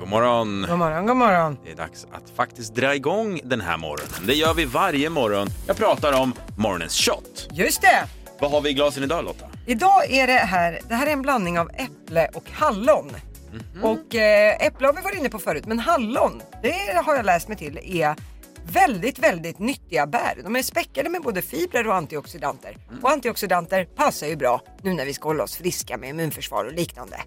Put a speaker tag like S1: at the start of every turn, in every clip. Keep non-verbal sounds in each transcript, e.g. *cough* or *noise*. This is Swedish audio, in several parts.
S1: God morgon!
S2: God morgon, god morgon.
S1: Det är dags att faktiskt dra igång den här morgonen. Det gör vi varje morgon. Jag pratar om morgonens shot.
S2: Just det!
S1: Vad har vi i glasen idag Lotta?
S2: Idag är det här, det här är en blandning av äpple och hallon. Och eh, äpple har vi varit inne på förut, men hallon, det har jag läst mig till, är väldigt, väldigt nyttiga bär. De är späckade med både fibrer och antioxidanter. Och antioxidanter passar ju bra nu när vi ska hålla oss friska med immunförsvar och liknande.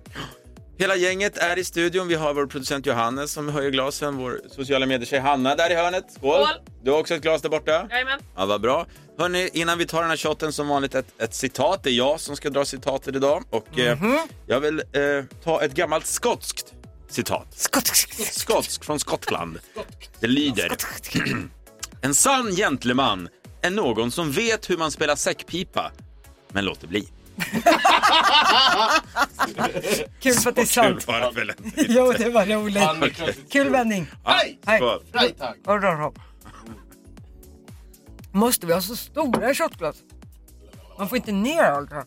S1: Hela gänget är i studion. Vi har vår producent Johannes som höjer glasen, vår sociala medietjej Hanna där i hörnet. Skål!
S3: Skål.
S1: Du har också ett glas där borta.
S3: Jajamän.
S1: Ja, vad bra. Hörni, innan vi tar den här shotten som vanligt ett, ett citat. Det är jag som ska dra citatet idag. Och eh, jag vill eh, ta ett gammalt skotskt citat.
S2: Skott-
S1: Skotsk från Skottland. Det lyder. En sann gentleman är någon som vet hur man spelar säckpipa, men låter bli.
S2: Kul för att det är sant.
S1: var det väl inte?
S2: *laughs* Jo, det var
S1: *laughs*
S2: roligt. Kul vändning.
S1: Aj!
S2: Hej.
S1: Skål.
S4: Freitag.
S2: Hopp, hopp, hopp. Måste vi ha så stora shotglas? Man får inte ner allt. det här.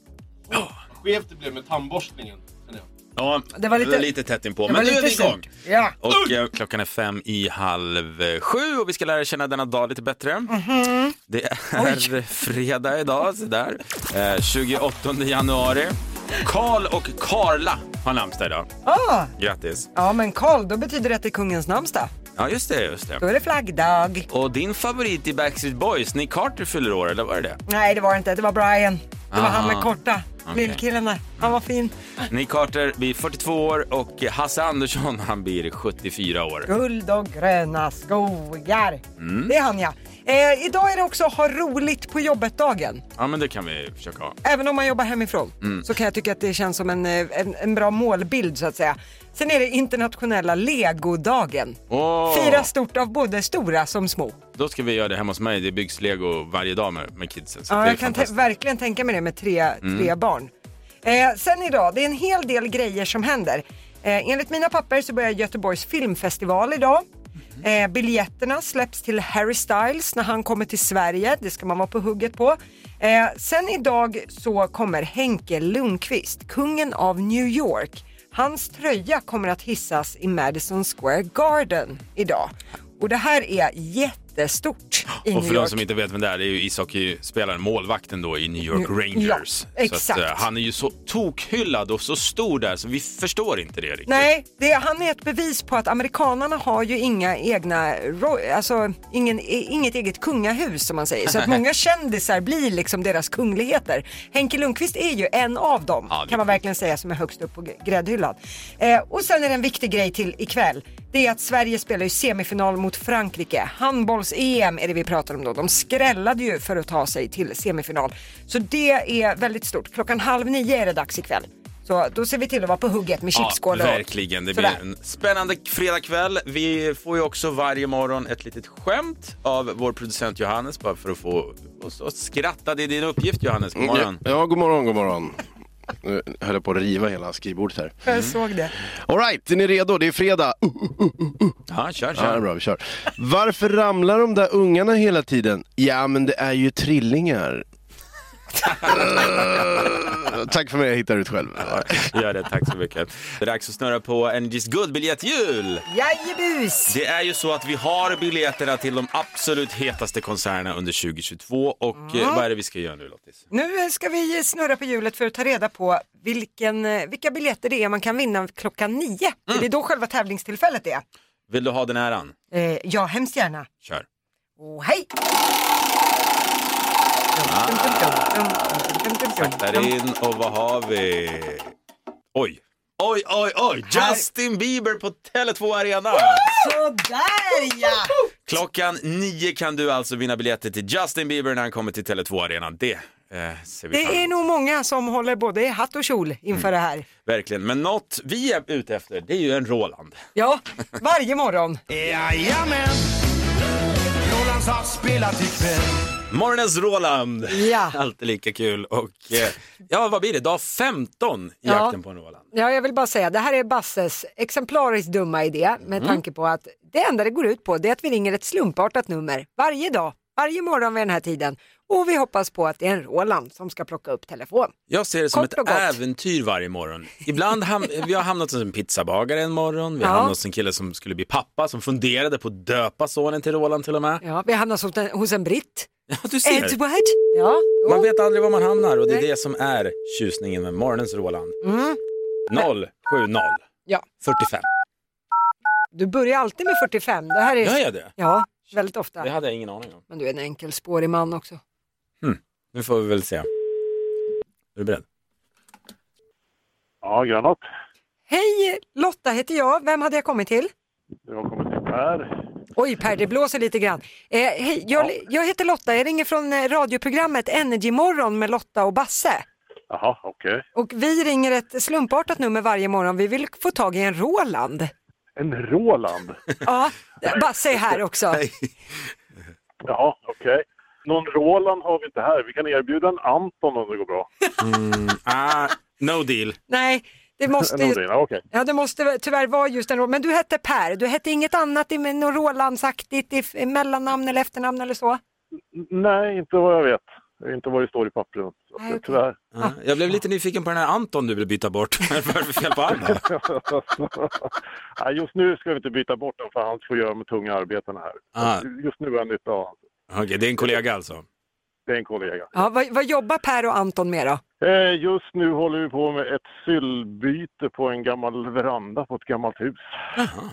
S4: Skevt det blev med tandborstningen. känner jag.
S1: Ja,
S2: Det var lite-
S1: lite tätt inpå,
S2: Det
S1: men
S2: var
S1: nu är
S2: lite
S1: vi igång.
S2: surt. Ja.
S1: Och eh, klockan är fem i halv eh, sju och vi ska lära känna denna dag lite bättre.
S2: Mm-hmm.
S1: Det är fredag idag, så där. Eh, 28 januari. Karl och Karla har namnsdag idag.
S2: Ah,
S1: Grattis.
S2: ja, men Karl, då betyder det att det är kungens namnsdag.
S1: Ja, just det, just det.
S2: Då är det flaggdag.
S1: Och din favorit i Backstreet Boys, Nick Carter, fyller år, eller var det det?
S2: Nej, det var det inte. Det var Brian. Det var
S1: Ah.
S2: han med korta.
S1: Okej.
S2: Lillkillen där. Han var fin.
S1: Nick Carter blir 42 år och Hasse Andersson, han blir 74 år.
S2: Guld och gröna skogar.
S1: Mm.
S2: Det är han ja. Eh, idag är det också ha roligt på jobbet-dagen.
S1: Ja, men det kan vi försöka ha.
S2: Även om man jobbar hemifrån så kan jag tycka att det känns som en, eh, en, en bra målbild så att säga. Sen är det internationella legodagen.
S1: Åh!
S2: Fira stort av både stora som små.
S1: Då ska vi göra det hemma hos mig. Det byggs lego varje dag med, med kidsen. Så Alltså, det
S2: Ja,
S1: är
S2: jag kan tä-
S1: fantastiskt. Mm.
S2: verkligen tänka mig det med tre, tre barn. Eh, sen idag, det är en hel del grejer som händer. Eh, enligt mina papper så börjar Göteborgs filmfestival idag.
S1: Mm.
S2: Eh, biljetterna släpps till Harry Styles när han kommer till Sverige. Det ska man vara på hugget på. Eh, sen idag så kommer Henke Lundqvist, kungen av New York. Hans tröja kommer att hissas i Madison Square Garden idag. Och det här är jättestort i
S1: och
S2: New
S1: för de
S2: York.
S1: som inte vet vem det är, det är ju ishockeyspelaren, målvakten då i New York
S2: Nu-
S1: Rangers.
S2: ja,
S1: så
S2: exakt.
S1: eh, han är ju så tokhyllad och så stor där så vi förstår inte det riktigt.
S2: Nej, det, han är ett bevis på att amerikanarna har ju inga egna, ro- alltså ingen, i- inget eget kungahus som man säger. Så att
S1: *laughs*
S2: många kändisar blir liksom deras kungligheter. Henke Lundqvist är ju en av dem,
S1: Ja, det är
S2: kan man verkligen säga, som är högst upp på gr- gräddhyllan. Eh, och sen är det en viktig grej till ikväll. Det är att Sverige spelar ju semifinal mot Frankrike. Handbolls-EM är det vi pratar om då. De skrällade ju för att ta sig till semifinal. Så det är väldigt stort. Klockan halv nige är det dags ikväll. Så då ser vi till att vara på hugget med
S1: Ja,
S2: chipsskål och-
S1: verkligen. Det blir Mm.
S2: Sådär.
S1: en spännande fredagkväll. Vi får ju också varje morgon ett litet skämt av vår producent Johannes bara för att få oss att skratta. Det är din uppgift Johannes. God morgon.
S5: Ja, ja, god morgon, god morgon. Nu höll jag på att riva hela skrivbordet här.
S2: Jag såg det.
S5: Alright, är ni redo? Det är fredag. Uh, uh, uh.
S1: Ja, kör,
S5: Ja, det är
S1: kör.
S5: bra, vi kör. Varför ramlar de där ungarna hela tiden? Ja, men det är ju trillingar.
S1: *laughs*
S5: Eh, Tack för mig, jag hittar ut själv.
S1: Gör det, tack så mycket. Det är dags att snurra på Energys guldbiljetthjul.
S2: Jajebus!
S1: Det är ju så att vi har biljetterna till de absolut hetaste konserterna under 2022 och eh, vad är det vi ska göra nu Lottis?
S2: Nu ska vi snurra på hjulet för att ta reda på vilken, eh, vilka biljetter det är man kan vinna klockan nio.
S1: Mm.
S2: För det är då själva tävlingstillfället är.
S1: Vill du ha den äran?
S2: Eh, ja, hemskt gärna.
S1: Kör.
S2: Och hej!
S1: Där in och vad har vi? Oj. Oj, oj, oj! Justin Bieber på Tele2 Arena!
S2: Sådär ja!
S1: Klockan nio kan du alltså vinna biljetter till Justin Bieber när han kommer till Tele2 Arena. Det eh, ser vi fram
S2: Det är
S1: emot.
S2: nog många som håller både i hatt och kjol inför det här.
S1: Verkligen. Men något vi är ute efter, det är ju en Roland.
S2: Ja, varje morgon.
S6: Jajamän! Rolands har spelat ikväll.
S1: Morgonens Roland!
S2: Ja.
S1: Alltid lika kul. Och, eh, ja, vad blir det? Dag 15 i
S2: Ja.
S1: jakten på en Roland.
S2: Ja, jag vill bara säga, det här är Basses exemplariskt Mm. dumma idé med tanke på att det enda det går ut på det är att vi ringer ett slumpartat nummer varje dag varje morgon vid den här tiden. Och vi hoppas på att det är en Roland som ska plocka upp telefon.
S1: Jag ser det som
S2: Kort och
S1: ett
S2: gott.
S1: äventyr varje morgon. Ibland ham- vi har hamnat hos en pizzabagare en morgon, vi har
S2: Ja.
S1: hamnat hos en kille som skulle bli pappa som funderade på att döpa sonen till Roland till och
S2: *laughs*
S1: med.
S2: Ja, vi hamnar hos en, hos en britt.
S1: Ja, du ser.
S2: Edward. Ja, jo.
S1: Man vet aldrig var man hamnar och det är
S2: Nej.
S1: det som är tjusningen med morgonens Roland.
S2: Mm.
S1: 070
S2: Ja.
S1: 45.
S2: Du börjar alltid med 45. Det här är...
S1: Gör jag det?
S2: Ja, väldigt
S1: Det
S2: ofta.
S1: hade jag ingen aning om.
S2: Men du är en enkelspårig man också.
S1: Nu får vi väl se. Är du beredd?
S3: Ja, Grönot.
S2: Hej, Lotta heter jag. Vem hade jag kommit till?
S3: Du har kommit till Per.
S2: Oj Per, det blåser lite grann. Eh, hej, jag, jag heter Lotta, jag ringer från eh, radioprogrammet Energy Morgon med Lotta och Basse.
S3: Jaha, okej.
S2: Och vi ringer ett slumpartat nummer varje morgon, vi vill få tag i en Roland.
S3: En Roland?
S2: Ja, Basse är här också.
S3: Jaha, okej. Någon Roland har vi inte här. Vi kan erbjuda en Anton om det går bra.
S1: Ah, no deal.
S2: Nej, det
S3: En
S2: måste,
S3: Odin, ja, okej.
S2: ja, det måste tyvärr vara just en Roland. Men du hette Per, du hette inget annat i med något Rolandsaktigt i, i mellannamn eller efternamn eller så?
S3: N- Nej, inte vad jag vet. Det är Inte vad det står i pappren. Så
S2: Nej, okej.
S3: Tyvärr. *laughs*
S1: Ah, Jag blev lite nyfiken på den här Anton du vill byta bort. *laughs* Vad är det för fel på armen?
S3: Nej, just nu ska vi inte byta bort den för han får göra med tunga arbeten här.
S1: Ah,
S3: Just nu är han nytta av hans.
S1: Okej, det är en kollega alltså.
S3: Det är en kollega.
S2: Ja, vad, vad jobbar Per och Anton med då?
S3: Eh, Just nu håller vi på med ett syllbyte på en gammal veranda på ett gammalt hus.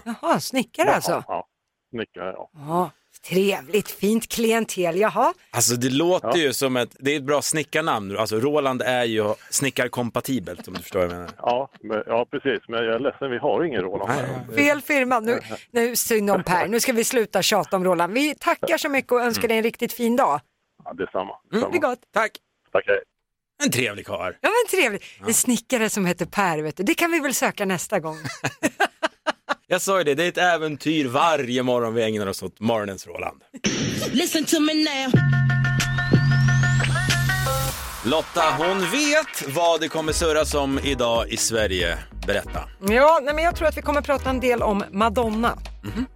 S2: Jaha, snickare alltså?
S3: Ja, snickare, ja.
S2: Ja, trevligt, fint klientel, jaha.
S1: Alltså det låter
S3: Ja.
S1: ju som ett, det är ett bra snickarnamn. Alltså Roland är ju snickarkompatibelt om du förstår vad jag menar.
S3: Ja, men, ja, precis. Men jag är ledsen, vi har ingen Roland här.
S2: Fel firma. Nu, nu synd om Per. Nu ska vi sluta tjata om Roland. Vi tackar så mycket och önskar dig en riktigt fin dag.
S3: Ja, detsamma.
S2: Det är
S3: detsamma.
S2: gott.
S1: Tack!
S3: Tack, hej.
S1: En trevlig karl.
S2: Ja men trevligt. En snickare som heter Per, vet du. Det kan vi väl söka nästa gång.
S1: Jag sa ju det, det är ett äventyr varje morgon vi ägnar oss åt morgonens Roland.
S7: Listen to me now.
S1: Lotta, hon vet vad det kommer surras om idag i Sverige. Berätta.
S2: Ja, nej, men jag tror att vi kommer prata en del om Madonna.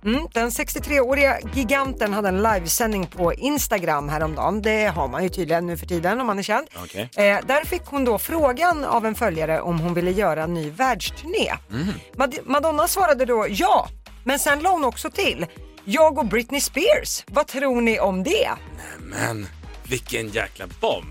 S2: Mm, den 63-åriga giganten hade en livesändning på Instagram häromdagen. Det har man ju tydligen nu för tiden om man är känd.
S1: Okej.
S2: Eh, där fick hon då frågan av en följare om hon ville göra en ny världsturné. Mad- Madonna svarade då ja, men sen la hon också till jag och Britney Spears, vad tror ni om det?
S1: Men vilken jäkla bomb!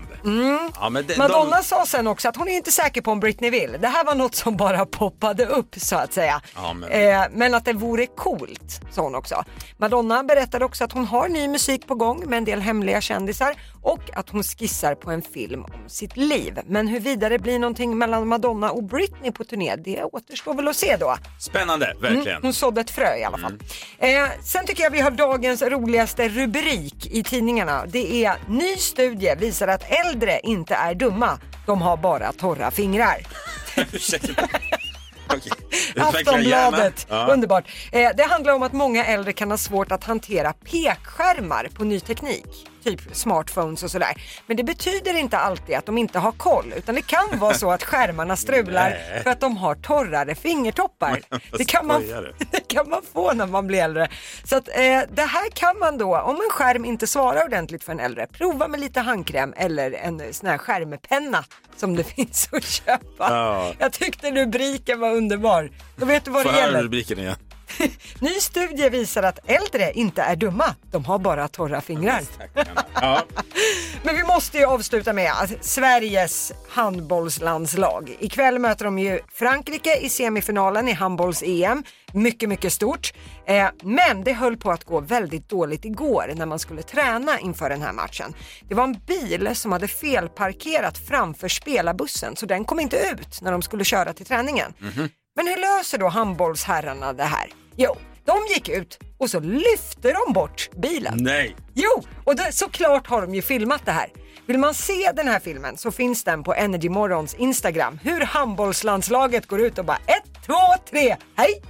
S1: Ja, men det-
S2: Mm. Madonna sa sen också att hon är inte säker på om Britney vill. Det här var något som bara poppade upp så att säga.
S1: Ja, men-
S2: Eh, men att det vore coolt, sa hon också. Madonna berättade också att hon har ny musik på gång med en del hemliga kändisar och att hon skissar på en film om sitt liv. Men hur vidare blir någonting mellan Madonna och Britney på turné, det återstår väl att se då.
S1: de, spännande, verkligen. Mm.
S2: Hon sådde ett frö i alla fall. Eh, sen tycker jag vi har dagens roligaste rubrik i tidningarna. Det är ny studie visar att äldre inte är dumma. De har bara torra fingrar. *laughs*
S1: Ursäkta. Okej. *laughs* Utveckla gärna.
S2: Aftonbladet,
S1: Ja.
S2: underbart. Eh, det handlar om att många äldre kan ha svårt att hantera pekskärmar på ny teknik. Typ smartphones och sådär. Men det betyder inte alltid att de inte har koll utan det kan vara så att skärmarna strular
S1: *laughs* Nej.
S2: för att de har
S1: *laughs*
S2: torrare fingertoppar. Det kan, man,
S1: skojar du?
S2: *laughs* det kan man få när man blir äldre. Så att, eh, det här kan man då, om en skärm inte svarar ordentligt för en äldre, prova med lite handkräm eller en eh, sån här skärmpenna som det *laughs* finns att köpa.
S1: Ja.
S2: Jag tyckte rubriken var underbar. Då vet du vad
S1: Får
S2: det
S1: jag höra
S2: gäller.
S1: rubriken igen?
S2: Ny studie visar att äldre inte är dumma. De har bara torra fingrar.
S1: Tackarna. Ja.
S2: Men vi måste ju avsluta med att Sveriges handbollslandslag. Ikväll möter de ju Frankrike i semifinalen i handbolls-EM. Mycket, mycket stort. Eh, men det höll på att gå väldigt dåligt igår när man skulle träna inför den här matchen. Det var en bil som hade felparkerat framför spelarbussen så den kom inte ut när de skulle köra till träningen. Men hur löser då handbollsherrarna det här? Jo, de gick ut och så lyfte de bort bilen.
S1: Nej.
S2: Jo, och det, såklart har de ju filmat det här. Vill man se den här filmen så finns den på Energy Morgons Instagram. Hur handbollslandslaget går ut och bara ett, två, tre, hej!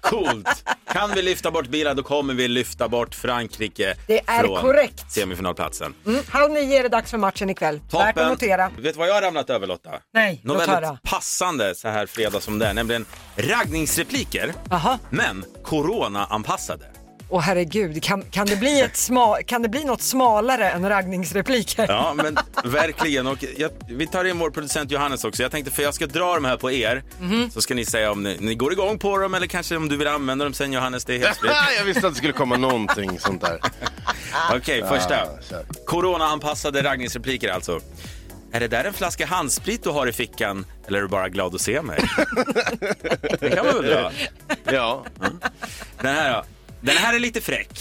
S1: Coolt! Kan vi lyfta bort bilar då kommer vi lyfta bort Frankrike
S2: Det är
S1: från
S2: korrekt.
S1: semifinalplatsen.
S2: Mm, halv nio är det dags för matchen ikväll. Värt att notera.
S1: Vet du vad jag har ramlat över Lotta?
S2: Nej,
S1: Något
S2: låt
S1: väldigt
S2: höra.
S1: passande så här fredag som det är, nämligen raggningsrepliker,
S2: Aha.
S1: men corona-anpassade.
S2: Åh, Åh herregud, kan, kan, det bli ett sma, kan det bli något smalare än raggningsrepliker?
S1: Ja,
S2: *laughs*
S1: men verkligen. Och jag, vi tar in vår producent Johannes också. Jag tänkte, för jag ska dra de här på er,
S2: Mhm.
S1: så ska ni säga om ni, ni går igång på dem eller kanske om du vill använda dem sen Johannes, det är
S2: *laughs*
S1: helt fritt.
S5: *laughs* jag visste att det skulle komma någonting sånt där.
S1: Okej, första.
S5: Ah, kör.
S1: Corona-anpassade raggningsrepliker alltså. Är det där en flaska handsprit du har i fickan eller är du bara glad att se
S5: *laughs*
S1: mig? det kan man undra.
S5: Ja.
S1: Den här då. Den här är lite fräck.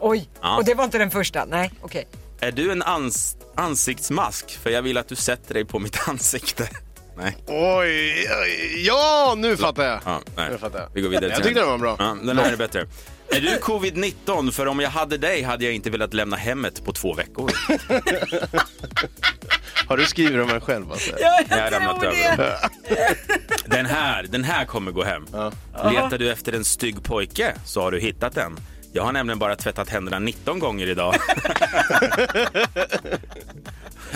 S2: Oj,
S1: Ja.
S2: och det var inte den första. Nej, okej.
S1: Är du en ans- ansiktsmask? För jag vill att du sätter dig på mitt *laughs* ansikte. Nej.
S5: Oj, oj, ja nu fattar jag.
S1: Ja, nej.
S5: Jag fattar.
S1: Vi går vidare
S5: Jag
S1: till
S5: tyckte
S1: en.
S5: den var bra.
S1: Ja, den här är bättre. Är du covid-19? För om jag hade dig hade jag inte velat lämna hemmet på två veckor.
S5: Har du skrivit de här själv alltså?
S2: Ja,
S1: Jag har ramlat över dem. Den här, den här kommer gå hem. Letar du efter en stygg pojke så har du hittat den. Jag har nämligen bara tvättat händerna 19 gånger
S2: *laughs*
S1: idag.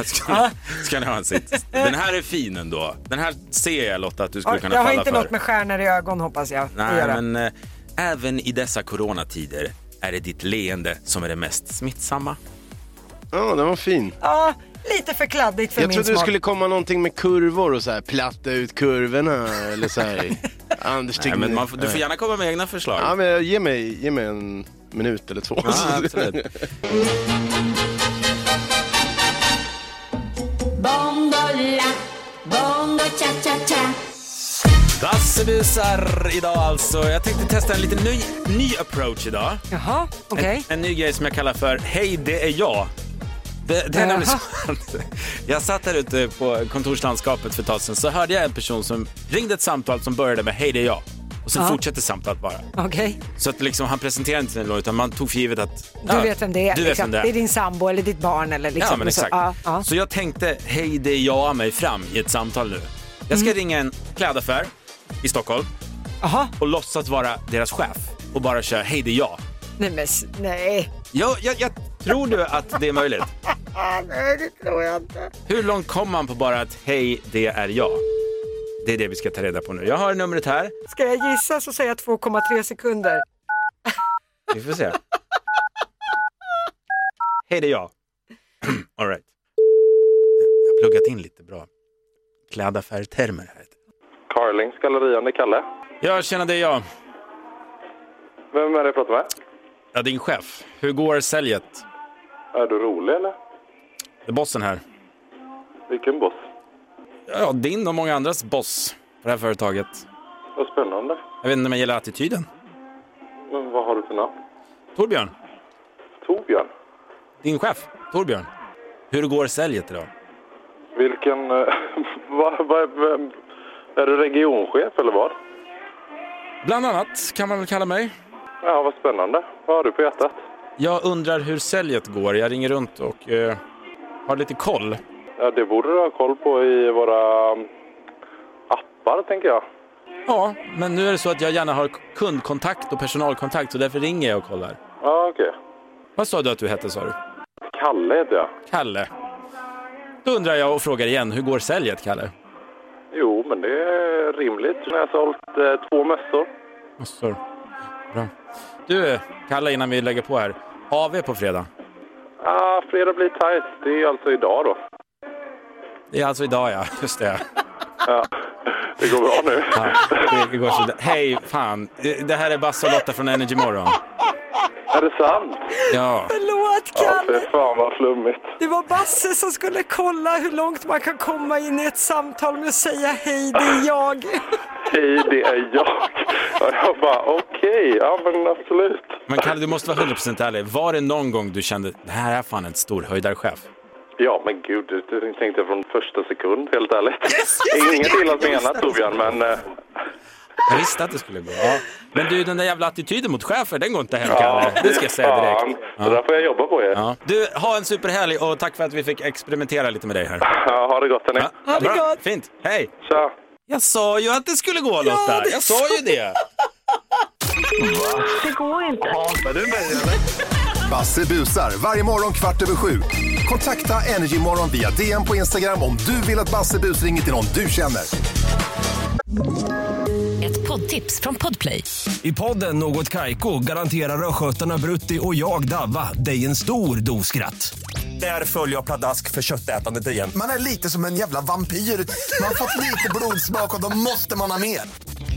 S1: ska, ni, ska ni ha en sitt? Den här är fin ändå. Den här ser jag Lotta att du skulle
S2: Ja,
S1: kunna
S2: Jag har
S1: falla
S2: inte
S1: för.
S2: något med stjärnor i ögon hoppas jag. att
S1: Nej,
S2: göra.
S1: men eh, även i dessa coronatider är det ditt leende som är det mest smittsamma.
S5: Ja, den var fin.
S2: Ja, lite för kladdigt för
S5: Jag
S2: min
S5: trodde det
S2: smak.
S5: skulle komma någonting med kurvor och så här platta ut kurvorna eller
S1: *laughs*
S5: så här. Anders
S1: Nej,
S5: Tegnér.
S1: men man, får- du får gärna komma med egna förslag.
S5: Ja, men ge mig, ge mig en minut eller två.
S1: Ja,
S5: *laughs*
S1: absolut.
S7: Bongola, bongo cha cha cha.
S1: Dassebusar idag alltså. Jag tänkte testa en liten ny, ny approach idag.
S2: Jaha, okej.
S1: En, en ny grej som jag kallar för Hej, det är jag. Det, det är
S2: Jaha.
S1: nämligen så att jag satt här ute på kontorslandskapet för ett tag sedan så hörde jag en person som ringde ett samtal som började med Hej, det är jag. Och sen
S2: Ja.
S1: fortsatte samtalet bara.
S2: Okej,
S1: Så att liksom, han presenterade inte sin låt utan man tog för givet att...
S2: du vet vem det är.
S1: Du vet
S2: liksom.
S1: vem det är.
S2: det är din sambo eller ditt barn eller liksom.
S1: Ja, men exakt.
S2: Så, ja, ja.
S1: Så jag tänkte, hej, det är jag mig fram i ett samtal nu. Jag
S2: Mm.
S1: ska ringa en klädaffär i Stockholm
S2: Jaha,
S1: och låtsas vara deras chef och bara köra, hej, det är jag.
S2: nej men s- nej.
S1: Jag, jag, jag tror du att det är möjligt? *laughs* Nej, det tror jag inte. Hur långt kom man på bara att, hej, det är jag? Det är det vi ska ta reda på nu. Jag har numret här.
S2: Ska jag gissa så säger jag 2,3 sekunder.
S1: Vi får se. Hej, det är jag. *clears throat* All right. Jag har pluggat in lite bra klädaffärtermer här.
S8: Carlings gallerian, det är Kalle.
S1: Ja, tjena, det är jag.
S8: Vem är det jag pratar med?
S1: Ja, din chef. Hur går säljet?
S8: Är du rolig eller?
S1: Det är bossen här.
S8: Vilken boss?
S1: Ja, din och många andras boss på det här företaget.
S8: Vad spännande.
S1: Jag vet inte om jag gillar attityden.
S8: Men vad har du för namn?
S1: Torbjörn,
S8: Torbjörn.
S1: din chef. Torbjörn. Hur går säljet idag?
S8: Vilken... eh, *laughs* vad- vad- vem, är du regionchef eller vad?
S1: Bland annat kan man väl kalla mig.
S8: Ja, vad spännande. Vad har du på hjärtat?
S1: Jag undrar hur säljet går. Jag ringer runt och eh, har lite koll.
S8: Ja, det borde du ha koll på i våra mm, appar, tänker jag.
S1: Ja, men nu är det så att jag gärna har kundkontakt och personalkontakt så därför ringer jag och kollar.
S8: Ja, okej.
S1: Vad sa du att du hette sa du?
S8: Kalle heter jag.
S1: Kalle. Då undrar jag och frågar igen, hur går säljet Kalle?
S8: Jo, men det är rimligt. Jag har sålt eh, två mössor.
S1: Massor. Bra. Du, Kalle, innan vi lägger på här. AV på fredag.
S8: Ah, fredag blir tajt. Det är alltså idag då.
S1: Det är alltså idag, ja.
S8: *laughs*
S1: Just det.
S8: Det går bra nu.
S1: Ja, det går så. Hej, fan. Det- Det här är Basse och Lotta från Energy Morgon.
S8: Är det sant?
S1: Ja.
S2: Förlåt
S8: Ja, fy
S2: Kalle,
S8: fan vad flummigt.
S2: det var Basse som skulle kolla hur långt man kan komma in i ett samtal med att säga hej, det är jag.
S8: Hej, det är jag. Och jag bara, *laughs* okej, ja men absolut.
S1: Men Kalle, du måste vara 100% ärlig. Var det någon gång du kände det här är fan en stor höjdarchef?
S8: Ja, men gud, det det tänkte jag från första sekund, helt ärligt. Inget illa menat Torbjörn, men eh,
S1: Jag visste att det skulle gå. Ja. Men du, den där jävla attityden mot chefer, den går inte hem, Kalle. Det ska jag säga
S8: fan,
S1: direkt.
S8: det där får jag jobba på er. Ja.
S1: Ja. Du, ha en superhelg och tack för att vi fick experimentera lite med dig här.
S8: ha det gott hörni.
S1: Ja,
S2: Ha det
S1: bra.
S2: gott.
S1: Fint. Hej!
S8: Tja.
S1: Jag sa ju att det skulle gå Lotta!
S2: det-
S1: Jag sa ju det!
S9: Basse busar varje morgon kvart över sju. Kontakta Energymorgon via DM på Instagram om du vill att Basse bus ringer till någon du känner.
S10: Ett poddtips från Podplay.
S11: I podden Något Kaiko garanterar östgötarna Brutti och jag, Davva, dig en stor dos skratt. Där följer jag pladask för köttätandet igen.
S12: Man är lite som en jävla vampyr. Man har fått lite blodsmak och då måste man ha mer.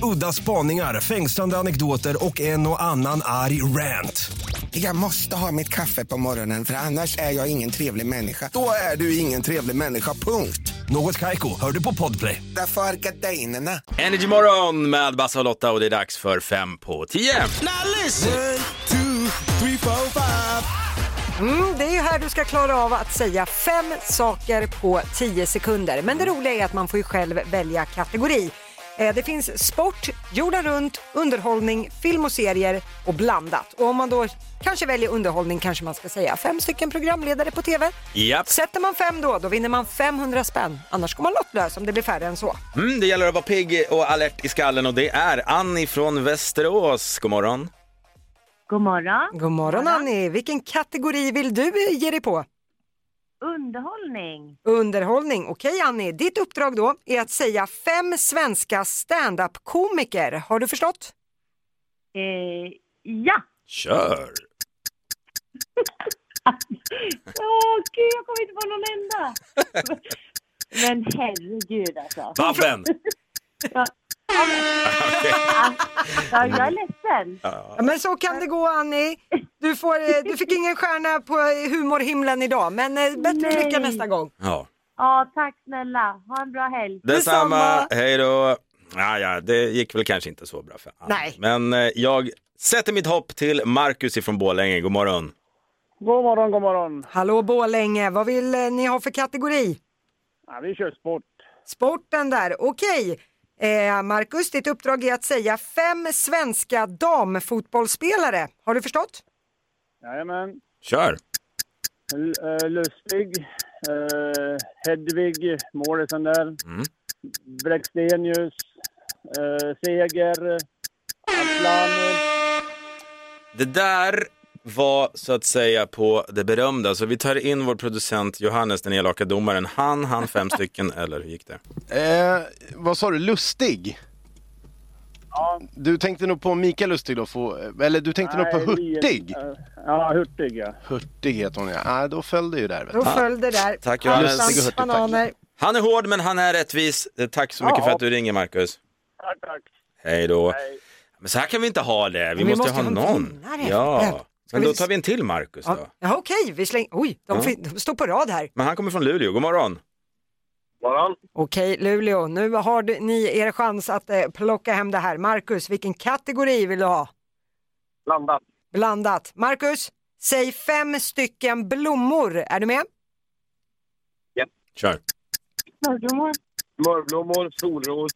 S11: Udda spaningar, fängslande anekdoter och en och annan arg rant.
S13: Jag måste ha mitt kaffe på morgonen för annars är jag ingen trevlig människa.
S12: Då är du ingen trevlig människa, punkt.
S11: Något Kaiko, hör du på podplay.
S12: Därför är gardinerna.
S1: Energy morgon med Basse och Lotta och det är dags för fem på tio.
S2: Mm, det är ju här du ska klara av att säga fem saker på tio sekunder. Men det roliga är att man får ju själv välja kategori. Eh, Det finns sport, jorden runt, underhållning, film och serier och blandat. Och om man då kanske väljer underhållning kanske man ska säga fem stycken programledare på TV.
S1: Japp.
S2: Sätter man fem då, då vinner man 500 spänn. Annars går man lottlös om det blir färre än så.
S1: Mm, det gäller att vara pigg och alert i skallen och det är Annie från Västerås. God morgon.
S14: God morgon.
S2: God morgon Annie! Vilken kategori vill du eh, ge dig på?
S14: Underhållning.
S2: Underhållning. Okej Annie, ditt uppdrag då är att säga fem svenska standup-komiker. Har du förstått?
S14: Eh, ja.
S1: Kör.
S14: Åh, gud, jag kommer inte på någon
S2: *laughs*
S14: enda. Men herregud alltså.
S1: Babben! *laughs*
S14: Ja. ja, jag är ledsen.
S2: Ja, men så kan det gå Annie. Du, får, eh, du fick ingen stjärna på eh, humorhimlen idag, men eh, bättre
S14: Nej.
S2: lycka nästa gång.
S1: Ja.
S14: Ja, tack snälla. Ha en bra helg.
S1: Detsamma, hej då. Ja, ja, det gick väl kanske inte så bra för Annie.
S14: Nej.
S1: Men eh, jag sätter mitt hopp till Marcus ifrån Borlänge. God morgon.
S15: God morgon, god morgon.
S2: Hallå Borlänge, vad vill eh, ni ha för kategori?
S15: Ja, vi kör sport.
S2: Sporten där, okej. Eh, Marcus, ditt uppdrag är att säga fem svenska damfotbollsspelare. Har du förstått?
S15: Jajamän.
S1: Kör.
S15: L- eh, Lustig. eh, Hedvig Mårisen där.
S1: Mm.
S15: Bräckstenius. eh, Seger. Aslan.
S1: Det där var så att säga på det berömda. Så vi tar in vår producent Johannes, den elaka domaren. Han han fem
S2: *laughs*
S1: stycken, eller hur gick det?
S5: Eh, vad sa du, Lustig? Du tänkte nog på Mikael Lustig då, få- eller du tänkte nog på
S15: Nej,
S5: Hurtig?
S15: eh, Ja, Hurtig ja.
S5: Hurtig heter hon ja, ah, då föll det ju där. Vet
S2: Då föll det där.
S1: Tack, Johannes.
S2: Halmstads
S1: Sigurd Hurtig, tack.
S2: bananer.
S1: Han är hård men han är rättvis. Eh, Tack så mycket
S2: Ja.
S1: för att du ringer Marcus.
S15: Tack, tack.
S1: Hej då. Men så här kan vi inte ha det. Vi,
S2: Vi
S1: måste,
S2: måste
S1: ha
S2: ha en
S1: någon.
S2: vinnare.
S1: Ja.
S2: Ska
S1: Men
S2: vi-
S1: då tar vi en till Marcus då.
S2: Ja, okej, vi slänger... Oj, de,
S1: Ja.
S2: fin- de står på rad här.
S1: Men han kommer från Luleå. God morgon.
S15: Morgon.
S2: Okej, Luleå, nu har du- ni er chans att eh, plocka hem det här. Marcus, vilken kategori vill du ha?
S15: Blandat.
S2: Blandat. Marcus, säg fem stycken blommor. Är du med?
S1: Kör.
S14: Smörblommor.
S15: Smörblommor, solros.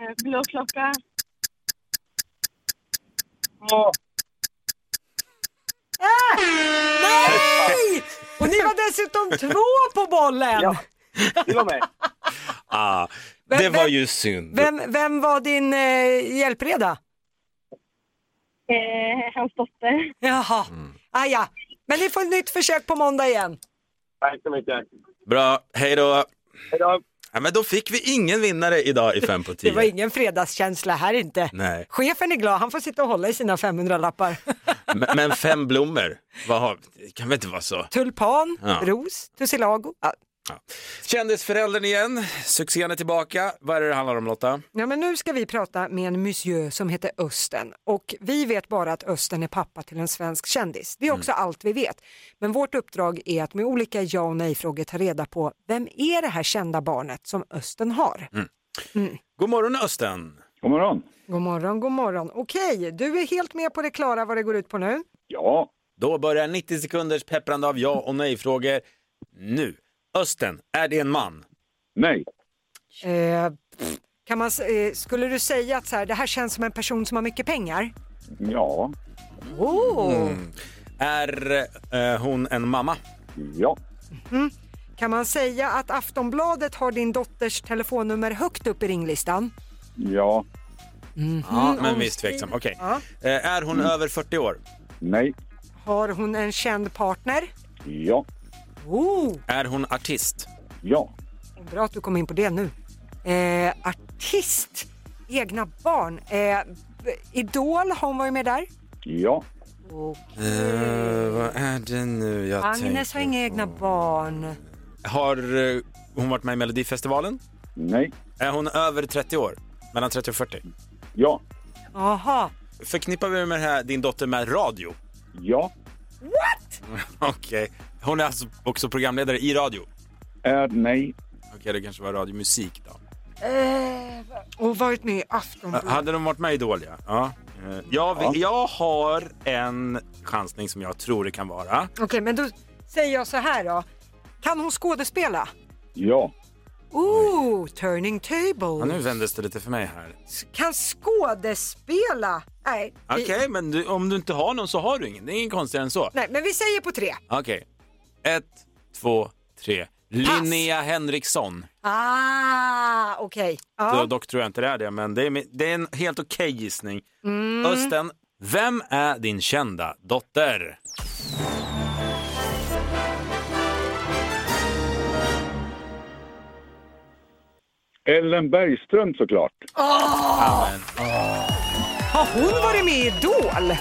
S15: Eh,
S14: Blåklocka.
S2: Äh! Nej! Och ni var dessutom två på bollen!
S15: Till och med.
S1: Ah,
S2: Vem-
S1: det var
S2: vem-
S1: ju synd.
S2: Vem, vem var din eh, hjälpreda?
S14: Eh, hans dotter.
S2: Jaha, ah, ja. Men ni får ett nytt försök på måndag igen.
S15: Tack så mycket.
S1: Bra, hej då.
S15: Hej då.
S1: Ja, men då fick vi ingen vinnare idag i fem på
S2: *laughs* Det var
S1: tio.
S2: ingen fredagskänsla här inte.
S1: Nej.
S2: Chefen är glad, han får sitta och hålla i sina 500-lappar. *laughs*
S1: Men, men fem blommor, vad har, det kan väl inte vara så?
S2: Tulpan,
S1: Ja.
S2: ros, tussilago. Ja.
S1: Kändisföräldern igen, succén är tillbaka. Vad är det det handlar om Lotta?
S2: Ja, men nu ska vi prata med en monsieur som heter Östen och vi vet bara att Östen är pappa till en svensk kändis. Det är också allt vi vet. Men vårt uppdrag är att med olika ja och nej-frågor ta reda på vem är det här kända barnet som Östen har?
S1: God morgon Östen!
S16: God morgon!
S2: God morgon, god morgon. Okej, du är helt med på det Klara vad det går ut på nu.
S16: Ja.
S1: Då börjar 90 sekunders pepprande av ja och nej-frågor nu. Östen, är det en man?
S16: Nej.
S2: Eh, pff, kan man, s- eh, skulle du säga att så här, det här känns som en person som har mycket pengar?
S16: Ja.
S2: Oh.
S1: Är eh, hon en mamma?
S16: Ja.
S2: Mm. Kan man säga att Aftonbladet har din dotters telefonnummer högt upp i ringlistan?
S16: Ja.
S1: Ja, men visst tveksam. Okej.
S2: Ja.
S1: Eh, är hon över 40 år?
S16: Nej.
S2: Har hon en känd partner?
S16: Ja.
S2: Oh,
S1: Är hon artist?
S16: Ja.
S2: bra att du kom in på det nu. Eh, artist? egna barn. Eh, b- Idol, har hon varit med där?
S16: Ja.
S1: Eh, vad är det nu jag
S2: Agnes
S1: tänker?
S2: har inga egna barn.
S1: Har eh, hon varit med i Melodifestivalen?
S16: Nej.
S1: Är hon över 30 år? Mellan 30 och 40?
S16: Ja.
S2: Aha.
S1: Förknippar vi med det här, din dotter med radio? *laughs*
S16: Ja.
S2: What?
S1: Okej. Hon är alltså också programledare i radio?
S16: Eh, nej.
S1: Okej, det kanske var radiomusik då.
S2: Eh, och varit med i
S1: Eh,
S2: Aftonbladet.
S1: Hade de varit med i Idol, ja. ja. Eh, Jag, vet- jag har en chansning som jag tror det kan vara.
S2: Okej, men då säger jag så här då. Kan hon skådespela?
S16: Ja.
S2: Ooh, turning
S1: Ja, nu
S2: tables.
S1: vändes det lite för mig här.
S2: Kan skådespela? Nej, vi-
S1: Okej, men du, om du inte har någon så har du ingen. Det är ingen konstigare än så.
S2: nej, men vi säger på tre.
S1: Okej. Ett, två, tre. Linnea Henriksson.
S2: Ah, okej.
S1: Då,
S2: Ja.
S1: dock tror jag inte det är det, men det är, min- det är en helt okej gissning.
S2: Mm.
S1: Östen, vem är din kända dotter?
S16: Ellen Bergström såklart.
S2: Ah, har hon varit med i Idol?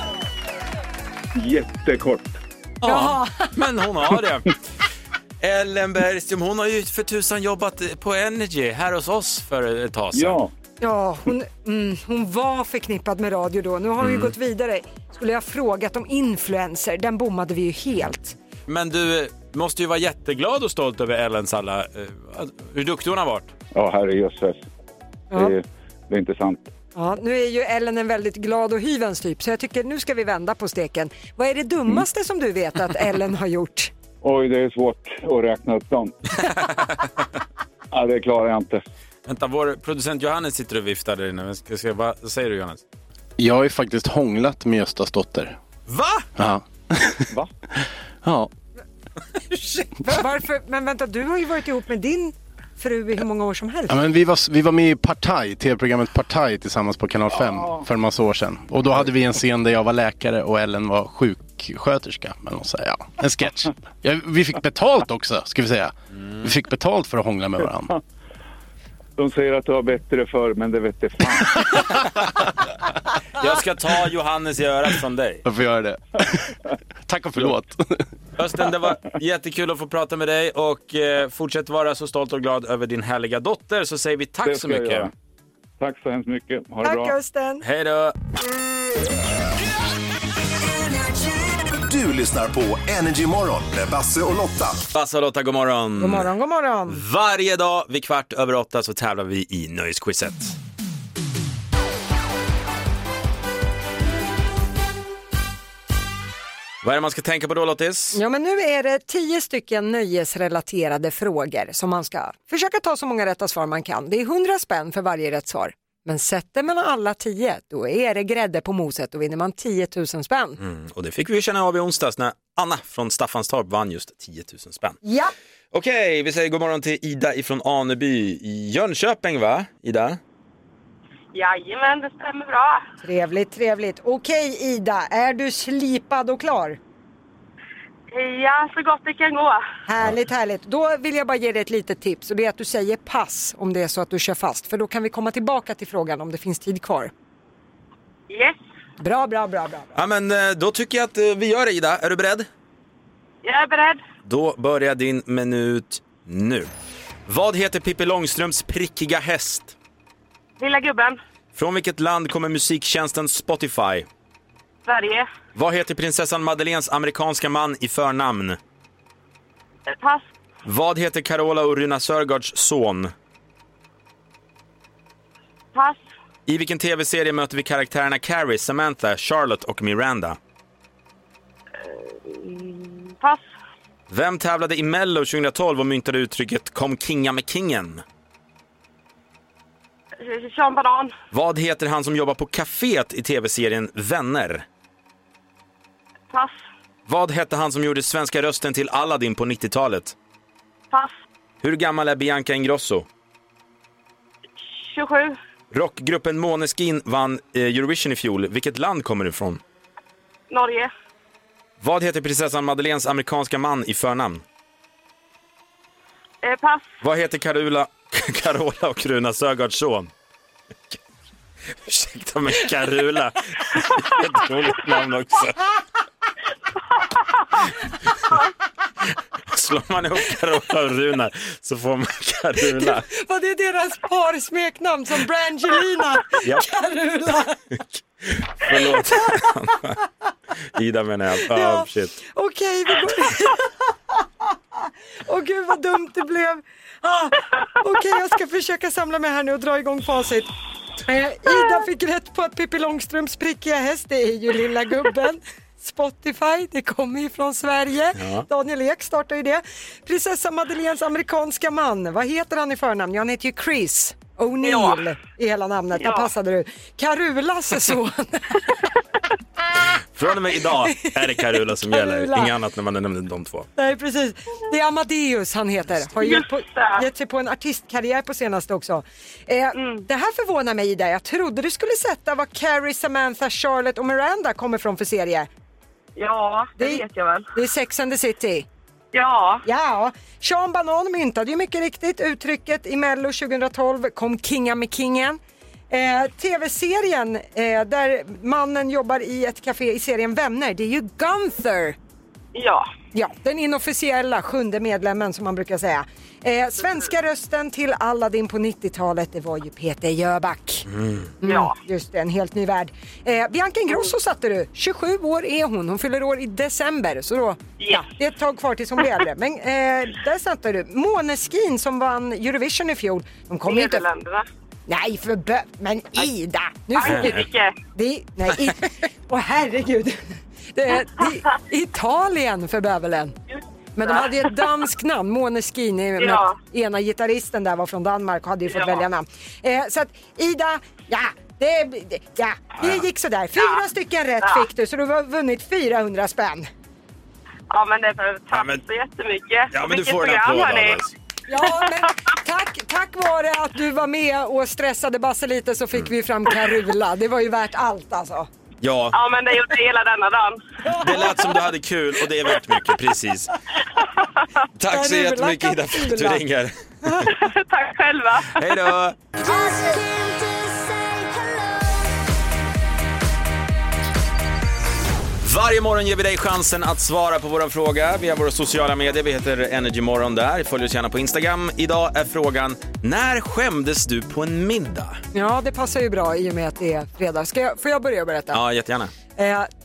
S16: Jättekort.
S1: Ja, men hon har det. Ellen Bergström, hon har ju för tusan jobbat på Energy här hos oss för ett tag sedan.
S16: Ja.
S2: Ja, hon, mm, hon var förknippad med radio då. Nu har hon ju
S1: Mm.
S2: gått vidare. Skulle jag ha frågat om influencer, den bommade vi ju helt.
S1: Men du eh, måste ju vara jätteglad och stolt över Ellens alla, eh, hur duktig hon har varit.
S16: Ja, herrejösses.
S2: Ja.
S16: Det, det är inte sant.
S2: Ja, nu är ju Ellen en väldigt glad och hyvens typ, så jag tycker nu ska vi vända på steken. Vad är det dummaste som du vet att Ellen har gjort?
S16: Oj, det är svårt att räkna
S2: *laughs*
S16: upp dem. ja, det klarar jag inte.
S1: Vänta, vår producent Johannes sitter och viftar där inne. Men Ska, ska, vad säger du Johannes?
S5: Jag har ju faktiskt hånglat med Göstas dotter.
S1: Va?
S5: Ja.
S16: Va?
S5: ja.
S2: Varför? Men vänta, du har ju varit ihop med din fru i hur många år som helst.
S5: Ja, men vi, var, vi var med i Partaj, tv-programmet Partaj tillsammans på Kanal 5 för en massa år sedan. Och då hade vi en scen där jag var läkare och Ellen var sjuksköterska. Men hon säger, ja, en sketch. Ja, vi fick betalt också, ska vi säga. Vi fick betalt för att hångla med varandra.
S16: De säger att du har bättre förr, men det vet det fan.
S1: Jag ska ta Johannes i örat från dig.
S5: Jag får göra *laughs* det. Tack och förlåt.
S1: Östen, det var jättekul att få prata med dig och eh, fortsätt vara så stolt och glad över din härliga dotter så säger vi
S16: Det
S1: tack så
S16: ska jag göra.
S1: mycket.
S16: Tack så hemskt mycket. Ha det
S2: Tack
S16: bra.
S2: Östen!
S1: Hej då!
S9: Du lyssnar på Energy Morgon med Basse och Lotta.
S1: Basse och Lotta, god morgon.
S2: God morgon, god morgon!
S1: Varje dag vid kvart över åtta så tävlar vi i Nöjesquizet. Vad är det man ska tänka på då Lottis?
S2: Ja, men nu är det tio stycken nöjesrelaterade frågor som man ska försöka ta så många rätta svar man kan. Det är 100 spänn för varje rätt svar. Men sätter man alla tio, då är det grädde på moset och vinner man 10 000 spänn.
S1: Mm, och det fick vi ju känna av i onsdags när Anna från Staffanstorp vann just 10 000 spänn.
S2: Ja,
S1: Okej, vi säger god morgon till Ida ifrån Aneby i Jönköping va? Ida?
S14: Jajamän, det stämmer bra.
S2: trevligt, trevligt. Okej Ida, är du slipad och klar?
S14: Ja, så gott det kan gå.
S2: Härligt, härligt. Då vill jag bara ge dig ett litet tips och det är att du säger pass om det är så att du kör fast. För då kan vi komma tillbaka till frågan om det finns tid kvar.
S14: Yes,
S2: Bra, bra, bra, bra.
S1: Ja men eh, då tycker jag att eh, vi gör det Ida, är du beredd?
S14: jag är beredd.
S1: Då börjar din minut nu. Vad heter Pippi Långstrumps prickiga häst?
S14: Lilla gubben,
S1: Från vilket land kommer musiktjänsten Spotify?
S14: Sverige.
S1: Vad heter prinsessan Madeleines amerikanska man i förnamn?
S14: Eh, Pass,
S1: Vad heter Carola och Runa Sörgårds son?
S14: pass,
S1: I vilken tv-serie möter vi karaktärerna Carrie, Samantha, Charlotte och Miranda?
S14: mm, pass.
S1: Vem tävlade i Mello 2012 och myntade uttrycket “Kom kinga med kingen”?
S14: Sean Banan,
S1: Vad heter han som jobbar på kaféet i tv-serien Vänner?
S14: pass,
S1: Vad hette han som gjorde svenska rösten till Aladdin på 90-talet?
S14: pass.
S1: Hur gammal är Bianca Ingrosso?
S14: 27,
S1: Rockgruppen Måneskin vann eh, Eurovision i fjol. Vilket land kommer du ifrån?
S14: Norge,
S1: Vad heter prinsessan Madeleines amerikanska man i förnamn?
S14: eh, pass.
S1: *laughs* Vad heter Carula, Carola och Runa Sögaards son? Ursäkta mig, Karula. Jätteroligt namn också. Slår man ihop Carola och Runar så får man Karula.
S2: Var det deras parsmeknamn som *laughs* Brangelina?
S1: Ja.
S2: Karula.
S1: Förlåt. Ida menar jag.
S2: Ja.
S1: Ah, shit.
S2: Okej, vi går... Åh gud vad dumt det blev. Ah, Okej, jag ska försöka samla mig här nu och dra igång facit. Eh, Ida fick rätt på att Pippi Långstrumps prickiga häst, det är ju lilla gubben. Spotify, det kommer ju från Sverige.
S10: Ja.
S2: Daniel Ek startar ju det. Prinsessa Madeleines amerikanska man, vad heter han i förnamn? Ja, han heter ju Chris O'Neill i hela namnet. Där
S1: Ja.
S2: passade du. Karulas son.
S1: Från och med idag är det Karula som
S2: Karula.
S1: gäller. Inget annat när man nämner de två.
S2: Nej, precis. Det är Amadeus han heter. Har ju på, gett sig på en artistkarriär på senaste också. Eh,
S10: Mm.
S2: Det här förvånar mig Ida. Jag trodde du skulle sätta vad Carrie, Samantha, Charlotte och Miranda kommer från för serie.
S10: Ja, det,
S2: Det-
S10: vet jag väl.
S2: Det är Sex and the City.
S10: Ja.
S2: Ja. Sean Banan myntade ju mycket riktigt uttrycket i Mello 2012, kom kinga med kingen. Eh, Tv-serien eh, där mannen jobbar i ett café i serien Vänner, det är ju Gunther.
S10: Ja.
S2: Ja, den inofficiella sjunde medlemmen som man brukar säga. Eh, svenska rösten till Aladdin på 90-talet, det var ju Peter Jöback. Mm,
S10: Ja.
S2: Just det, en helt ny värld. Eh, Bianca Ingrosso satte du. 27 år är hon. Hon fyller år i december. Så då, ja, det är ett tag kvar tills hon blir äldre. Men eh, där satte du. Måneskin som vann Eurovision i fjol. De kommer ju inte...
S10: Nederländerna.
S2: Nej, för bö... Men Ida! Nu får vi...
S10: Frankrike.
S2: Det är, nej, i,
S10: *laughs*
S2: åh herregud. Det är, i, Italien för bövelen. Men de hade ju ett danskt namn, Måneskin, i och med
S10: Ja.
S2: att ena gitarristen där var från Danmark och hade ju fått
S10: Ja.
S2: välja namn. Eh, så att Ida, ja, det, det- ja, det gick sådär. Fyra stycken rätt
S10: Ja.
S2: fick du så du har vunnit 400 spänn.
S10: Ja, men det är för... Tack
S1: Ja, men,
S10: så jättemycket.
S1: ja, men du
S10: Vilket
S1: får en
S10: program,
S1: applåd av
S10: hörni.
S1: oss.
S2: Ja, men tack, tack vare att du var med och stressade Basse lite så fick vi ju fram Karula. Det var ju värt allt alltså.
S1: Ja,
S10: Ja, men det gjorde hela denna dagen.
S1: det lät som du hade kul och det är värt mycket. Precis. Tack så
S10: Karula,
S1: jättemycket Ida för att du
S10: Karula.
S1: ringer.
S10: Tack själva.
S1: Hej då! Varje morgon ger vi dig chansen att svara på vår fråga via våra sociala medier. Vi heter Energymorgon där. Följ oss gärna på Instagram. Idag är frågan, när skämdes du på en middag?
S2: Ja, det passar ju bra i och med att det är fredag. Ska jag, får jag börja berätta?
S1: Ja, jättegärna.
S2: Eh,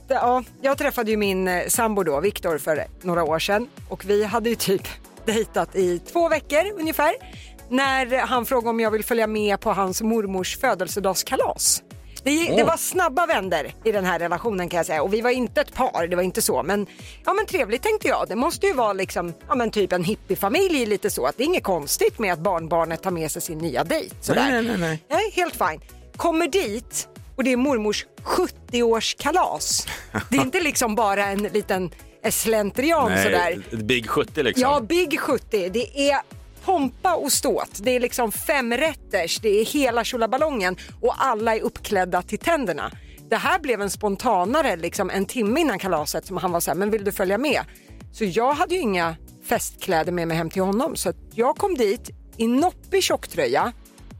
S2: det- ja, jag träffade ju min eh, sambo då, Viktor, för några år sedan och vi hade ju typ *laughs* dejtat i två veckor ungefär när han frågade om jag vill följa med på hans mormors födelsedagskalas. Det, gi- det
S10: Åh.
S2: var snabba vänder i den här relationen kan jag säga och vi var inte ett par, det var inte så men ja men trevligt tänkte jag. Det måste ju vara liksom, ja men typ en hippiefamilj lite så att det är inget konstigt med att barnbarnet tar med sig sin nya dejt. Sådär.
S10: Nej, nej, nej, nej.
S2: Nej, helt fine. Kommer dit och det är mormors 70-årskalas. Det är inte liksom bara en liten slentrian sådär.
S1: Big 70 liksom.
S2: Ja, Big 70. Det är pompa och ståt. Det är liksom femrätters, det är hela tjolaballongen och alla är uppklädda till tänderna. Det här blev en spontanare liksom en timme innan kalaset som han var så här, men vill du följa med? Så jag hade ju inga festkläder med mig hem till honom så att jag kom dit i noppig tjocktröja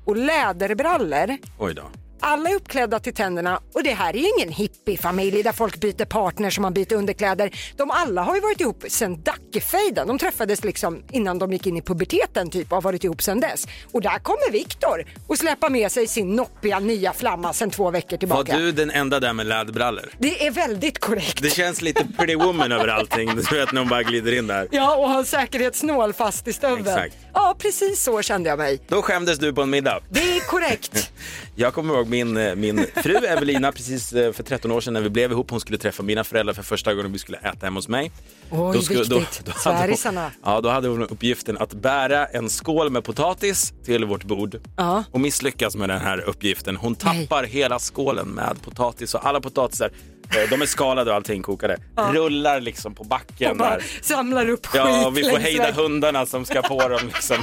S2: och läderbrallor
S1: Oj då.
S2: alla är uppklädda till tänderna och det här är ju ingen hippiefamilj där folk byter partner som man byter underkläder. De alla har ju varit ihop sedan Dackefejden. De träffades liksom innan de gick in i puberteten typ och har varit ihop sedan dess. Och där kommer Viktor och släpar med sig sin noppiga nya flamma sedan två veckor
S1: Var
S2: tillbaka.
S1: du den enda där med läderbrallor?
S2: Det är väldigt korrekt.
S1: Det känns lite pretty woman över allting. Du vet när hon bara glider in där.
S2: Ja, och har säkerhetsnål fast i stöveln.
S1: Exakt.
S2: Ja, precis så kände jag mig.
S1: Då skämdes du på en middag.
S2: Det är
S1: *laughs*
S2: korrekt.
S1: Jag kommer ihåg min, eh, min fru Evelina precis eh, för 13 år sedan när vi blev ihop. Hon skulle träffa mina föräldrar för första gången och vi skulle äta hemma hos mig.
S2: Oj,
S1: skulle-
S2: viktigt.
S1: hade hon-
S2: Svärisarna.
S1: Ja, då hade hon uppgiften att bära en skål med potatis till vårt bord
S2: Ja.
S1: och misslyckas med den här uppgiften. Hon tappar hela skålen med potatis och alla potatisar, eh, de är skalade och allting kokade,
S2: Ja.
S1: rullar liksom på backen.
S2: Och bara
S1: där.
S2: samlar upp skit
S1: Ja, och vi får
S2: längs
S1: hejda
S2: vägen.
S1: hundarna som ska på dem liksom.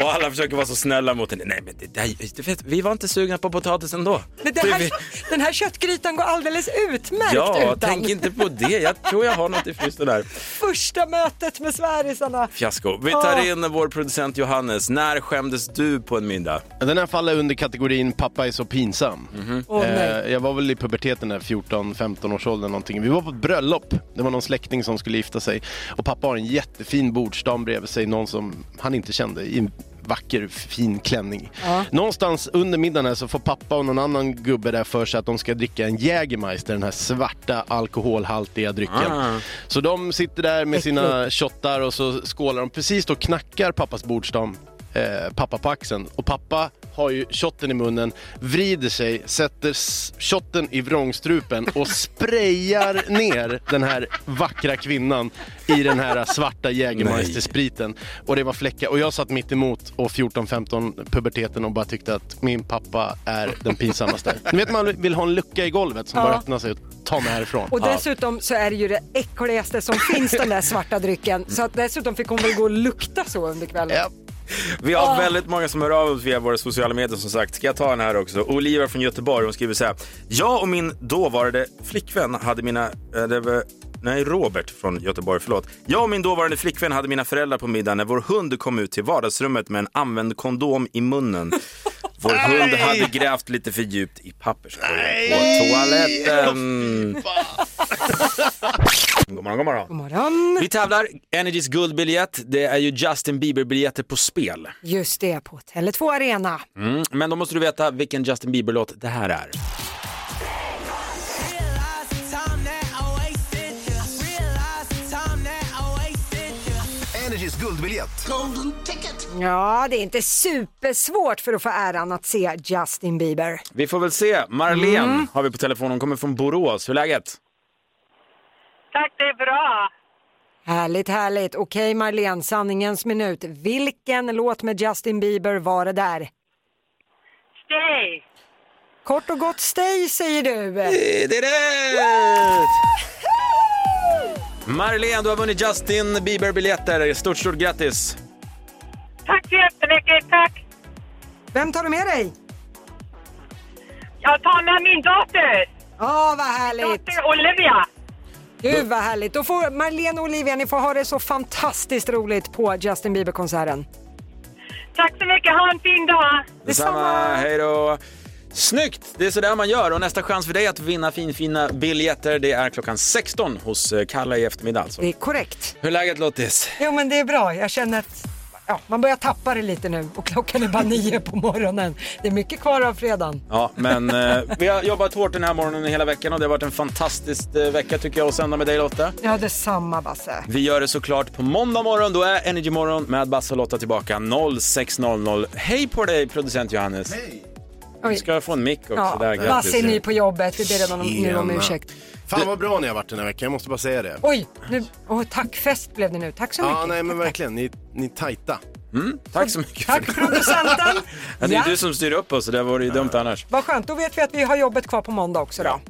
S1: Och alla försöker vara så snälla mot henne. Nej, men det, det, du vet, vi var inte sugna på potatis ändå.
S2: Men det
S1: Det-
S2: här,
S1: vi-
S2: den här köttgrytan går alldeles utmärkt
S1: ja,
S2: utan.
S1: tänk inte på det. Jag tror jag har något i frysen där.
S2: Första mötet med svärisarna.
S1: Fiasko. Vi tar
S2: Ah.
S1: in vår producent Johannes. När skämdes du på en middag?
S5: Den här faller under kategorin pappa är så pinsam.
S1: Åh, nej.
S5: Eh, jag var väl i puberteten där, 14-15 års ålder någonting. Vi var på ett bröllop. Det var någon släkting som skulle gifta sig och pappa har en jättefin bordsdam bredvid sig, någon som han inte kände i en vacker fin klänning. Någonstans under middagen här så får pappa och någon annan gubbe där för sig att de ska dricka en Jägermeister, den här svarta alkoholhaltiga drycken.
S1: Ah.
S5: Så de sitter där med sina
S1: Äckligt.
S5: shottar och så skålar de. Precis då knackar pappas bordsdam eh, pappa på axeln och pappa har ju shotten i munnen, vrider sig, sätter s- shotten i vrångstrupen
S2: *laughs*
S5: och sprayar ner den här vackra kvinnan i den här svarta Jägermeister-spriten. Och det var fläckar. Och jag satt mitt emot och 14-15 puberteten och bara tyckte att min pappa är den pinsammaste. Ni vet man vill ha en lucka i golvet som
S2: Ja.
S5: bara öppnar sig och tar mig härifrån.
S2: Och dessutom så är det ju det äckligaste som finns, den där svarta drycken. Så att dessutom fick hon väl gå och lukta så under kvällen.
S1: Vi har
S2: Ah.
S1: väldigt många som hör av oss via våra sociala medier som sagt. Ska jag ta den här också? Oliva från Göteborg, hon skriver så här. Jag och min dåvarande flickvän hade mina... eh, det var- Nej, Robert från Göteborg, förlåt. Jag och min dåvarande flickvän hade mina föräldrar på middag när vår hund kom ut till vardagsrummet med en använd kondom i munnen. Vår hund hade grävt lite för djupt i papperskorgen på toaletten. God morgon, god morgon. Vi tävlar Energys guldbiljett. Det är ju Justin Bieber-biljetter på spel.
S2: Just det, på Tele2 Arena.
S1: Mm. Men då måste du veta vilken Justin Bieber-låt det här är.
S9: Energys guldbiljett.
S2: Ja, det är inte supersvårt för att få äran att se Justin Bieber.
S1: Vi får väl se. Marlene
S2: Mm.
S1: har vi på telefon. Hon kommer från Borås. Hur är läget?
S10: Tack, det är bra.
S2: Härligt, härligt. Okej Marlene, sanningens minut. Vilken låt med Justin Bieber var det där?
S10: Stay!
S2: Kort och gott Stay säger du.
S1: Eh, Det är rätt! Marlene, du har vunnit Justin Bieber-biljetter. Stort, stort grattis!
S10: Tack så jättemycket, tack!
S2: Vem tar du med dig?
S10: Jag tar med min dotter!
S2: Ja, vad härligt!
S10: Dotter Olivia!
S2: Gud vad härligt. Då får Marlene och Olivia, ni får ha det så fantastiskt roligt på Justin Bieber-konserten.
S10: Tack så mycket, ha en fin dag!
S1: Detsamma! Hej då! Snyggt! Det är sådär man gör. Och nästa chans för dig att vinna finfina biljetter det är klockan 16 hos eh, Kalle i eftermiddag. Alltså.
S2: Det är korrekt.
S1: Hur är läget Lottis?
S2: Jo men det är bra, jag känner att ja, man börjar tappa det lite nu och klockan *laughs* är bara nio på morgonen. Det är mycket kvar av fredagen.
S1: Ja, men eh, vi har jobbat hårt den här morgonen hela veckan och det har varit en fantastisk eh, vecka tycker jag att sända med dig Lotta.
S2: Ja, detsamma Basse.
S1: Vi gör det såklart på måndag morgon. Då är Energy Morgon med Basse och Lotta tillbaka 06.00. Hej på dig producent Johannes. Hej. Du ska få en mick också.
S2: Ja,
S1: där, grattis.
S2: Basse är ny på jobbet, vi ber honom nu om
S5: Tjena.
S2: ursäkt.
S5: Fan vad bra ni har varit den här veckan, jag måste bara säga det.
S2: Oj, nu, åh, tackfest blev det nu. Tack så mycket.
S5: Ja, nej men verkligen, ni, ni är tajta.
S1: Tack så mycket.
S2: Tack producenten.
S1: *laughs* Ja, det är
S2: Ja.
S1: ju du som styr upp oss så det vore ju dumt annars.
S2: Vad skönt, då vet vi att vi har jobbet kvar på måndag också då.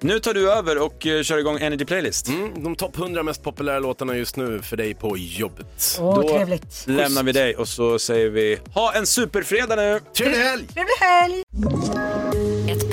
S1: Nu tar du över och eh, kör igång Energy Playlist.
S5: Mm, de topp 100 mest populära låtarna just nu för dig på jobbet.
S2: Åh,
S1: Då
S2: trevligt.
S1: lämnar vi dig och så säger vi ha en superfredag nu!
S5: Trevlig helg!
S2: Trevlig helg!
S17: Ett